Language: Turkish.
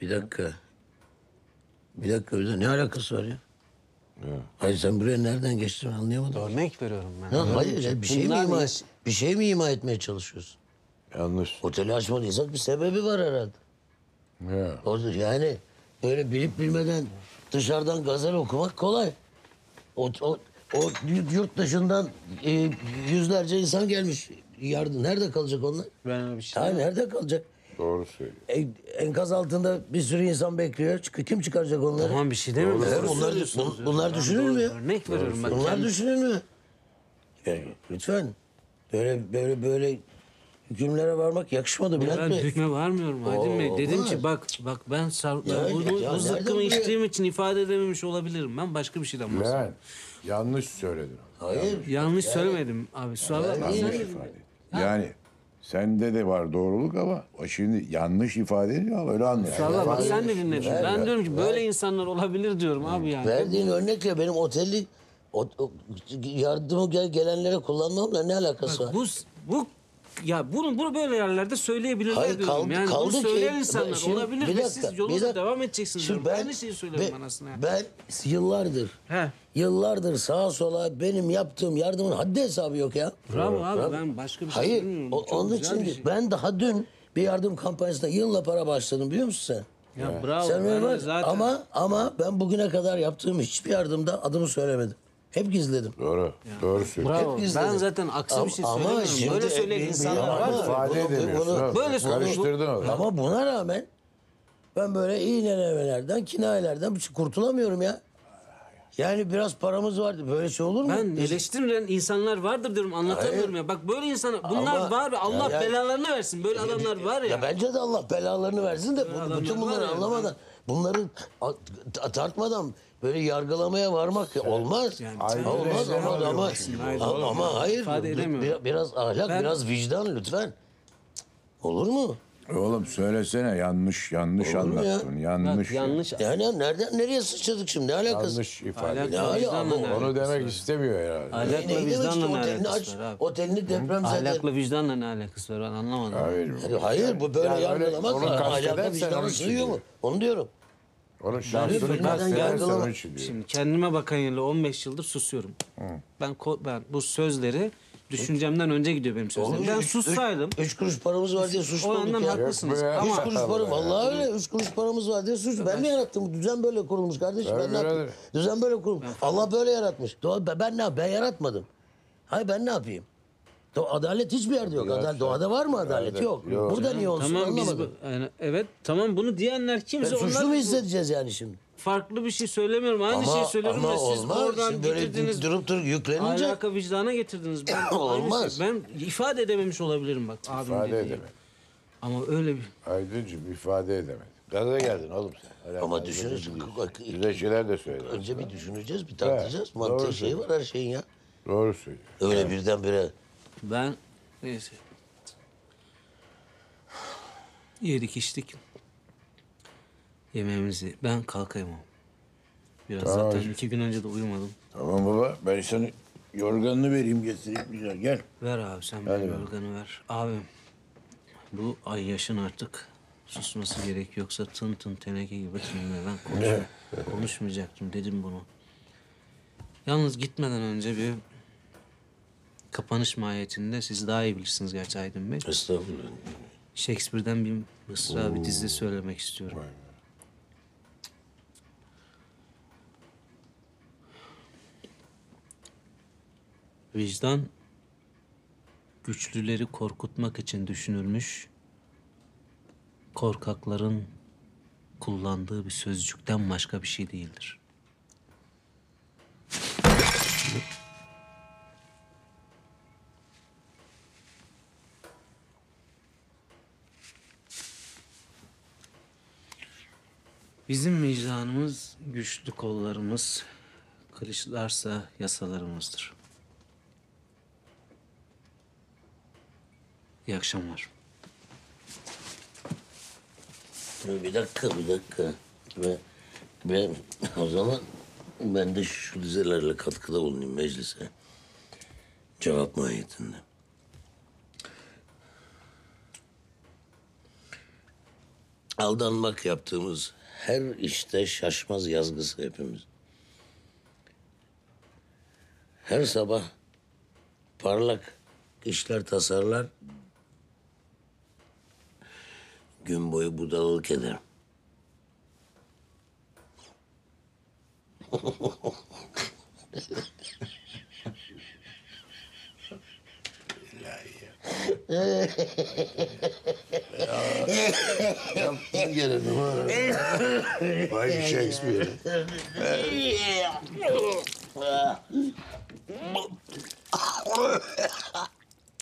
Bir dakika. Bir dakika bize ne alakası var ya? Hayır sen buraya nereden geçtin anlayamadım. Örnek veriyorum ben. Ya hayır ya, bir şey mi Bunlar ima, iş- bir şey mi ima etmeye çalışıyorsun? Yanlış. Oteli açmadıysak bir sebebi var herhalde. Ya. Odur yani böyle bilip bilmeden dışarıdan gazel okumak kolay. O, o, o yurt dışından e, yüzlerce insan gelmiş. Yardım nerede kalacak onlar? Ben öyle bir şey. Ha nerede kalacak? Doğru söylüyor. E, enkaz altında bir sürü insan bekliyor. Çık- Kim çıkaracak onları? Tamam bir şey demiyorum. Evet, Doğru bunlar, söylüyorsunuz. bu- bunlar düşünür Doğru, mü? ya? Örnek veriyorum ben. Bunlar düşünür mü? Yani lütfen. Böyle böyle böyle hükümlere varmak yakışmadı Bülent Ben Bey. hükme varmıyorum Aydın Bey. Oo, Dedim ki olmaz. bak bak ben sar, Ya, ben bu, ya bu nereden zıkkımı buraya- içtiğim için ifade edememiş olabilirim. Ben başka bir şeyden bahsediyorum. Lan yanlış söyledin. onu. Hayır. Yanlış söylemedim abi. Kusura bakma. Yanlış ifade. ettin. Yani sende de var doğruluk ama o şimdi yanlış ifade ediyor ama öyle anlıyor. Valla bak Hayır, sen de dinledin. ver, Ben ver, diyorum ki böyle insanlar olabilir diyorum abi yani. Verdiğin örnekle benim oteli o, o- yardımı gel- gelenlere kullanmamla ne alakası var? Bu bu ya bunu bunu böyle yerlerde söyleyebilirler Hayır, diyorum. kaldı- yani kaldı bunu ki- söyleyen ben insanlar şimdi- olabilir bir ve dakika, siz bir yolunuza dakika. devam edeceksiniz Şimdi diyorum. Ben, Aynı şeyi söylüyorum ben- anasına. Ben yıllardır, He. yıllardır sağa sola benim yaptığım yardımın haddi hesabı yok ya. Bravo abi ben başka bir şey Hayır, bilmiyorum. o- Çok onun güzel için bir değil. şey. ben daha dün bir yardım kampanyasında yılla para başladım biliyor musun sen? Ya bravo. Sen ben de öyle bak. zaten. Ama ama ben bugüne kadar yaptığım hiçbir yardımda adımı söylemedim. Hep gizledim. Doğru. Doğru söylüyor. Bravo. Hep gizledim. Ben zaten aksi bir şey söylemiyorum. şimdi- Böyle söyleyen e, insanlar ama- var. İfade Bunu- edemiyorsun. bunu- abi. Böyle sor- Karıştırdın onu. Ama buna rağmen ben böyle iğnelemelerden, kinayelerden bir şey kurtulamıyorum ya. Yani biraz paramız vardı. Böyle şey olur mu? Ben eleştirilen insanlar vardır diyorum anlatamıyorum ya. Bak böyle insanlar bunlar Ama- var ve Allah Ya- belalarını versin. Böyle adamlar var ya. Ya bence de Allah belalarını versin de bu- Belalarını bütün var bunları ya. anlamadan, bunları a- t- tartmadan böyle yargılamaya varmak ya olmaz. Yani Ha, sen- olmaz Aynen. ama ama, Aynen. ama, ama hayır. İfade bir- edemiyorum. bir- biraz ahlak, Ben- biraz vicdan lütfen. Olur mu? Oğlum söylesene yanlış yanlış Olur mu ya? anlattın. Yanlış. Bak, yanlış. Yani nereden nereye sıçradık şimdi? Ne alakası? Yanlış ifade. Alak- Ne alakası? Vicdanla ne Onu demek istemiyor herhalde. Ne- Ahlakla ne- ne- vicdanla ne otelini alakası var abi? Otelini deprem Ahlakla vicdanla ne alakası var ben anlamadım. Hayır. Hayır bu böyle Yani öyle- yargılamak onu var. Ahlakla kastedersen şey onun vicdanla için sığıyor mu? diyor. Onu diyorum. Onun şansını bilmeden kastedersen yargılama. onun için diyor. Şimdi kendime bakan yerle 15 yıldır susuyorum. Ben ko- ben bu sözleri düşüncemden önce gidiyor benim sözlerim. Ben Üç- üç- sussaydım. Üç kuruş paramız var diye suçlu O olduk yandan ya. haklısınız. Yok be ya. Üç Ama kuruş para, vallahi öyle. Üç kuruş paramız var diye suç. Ben mi yarattım? Bu düzen böyle kurulmuş kardeşim. Tabii Ben ne yaptım? birader. Düzen böyle kurulmuş. Allah böyle yaratmış. Doğru, ben, ben ne yap? Ben yaratmadım. Hayır ben ne yapayım? Do- adalet hiçbir yerde yok. Adalet, doğada var mı adalet? Yok. Burada niye olsun tamam biz anlamadım. bu- yani evet tamam bunu diyenler kimse Ben suçlu onlar mu hissedeceğiz yani şimdi? farklı bir şey söylemiyorum. Aynı şeyi söylüyorum ama da siz olmaz. oradan Şimdi böyle getirdiniz. durup durup yüklenince Alaka vicdana getirdiniz. Ben aynı Olmaz. şey- Ben ifade edememiş olabilirim bak. abim İfade dediği gibi. edemedi. Ama öyle bir Aydıncığım ifade edemedi. Gaza geldin oğlum sen. Hala Ama gaza düşünürüz. geldin. Bak, Güzel şeyler de söyledin. önce bir düşüneceğiz, bir tartacağız. Evet, Mantığı doğru şey var her şeyin ya. Doğru söylüyor. Öyle birdenbire ben neyse. Yedik içtik. Yemeğimizi ben kalkayım oğlum. Biraz Tamam. zaten iki gün önce de uyumadım. Tamam baba ben sana yorganını vereyim getireyim güzel gel. Ver abi sen Hadi bana bakalım. yorganı ver. Abim bu ay yaşın artık susması gerek yoksa tın tın teneke gibi tınlıyor. Ben konuş- konuşmayacaktım dedim bunu. Yalnız gitmeden önce bir kapanış mahiyetinde siz daha iyi bilirsiniz gerçi Aydın Bey. estağfurullah. Shakespeare'den bir mısra bir dizi söylemek istiyorum. Vicdan güçlüleri korkutmak için düşünülmüş korkakların kullandığı bir sözcükten başka bir şey değildir. Bizim vicdanımız güçlü kollarımız, kılıçlarsa yasalarımızdır. İyi akşamlar. Ya Bir dakika, bir dakika. Ben, ben o zaman ben de şu dizelerle katkıda bulunayım meclise. Cevap mahiyetinde. aldanmak yaptığımız her işte şaşmaz yazgısı hepimiz. Her sabah parlak işler tasarlar, gün boyu budalalık ederim. Yaptın gene numara. Vay Shakespeare.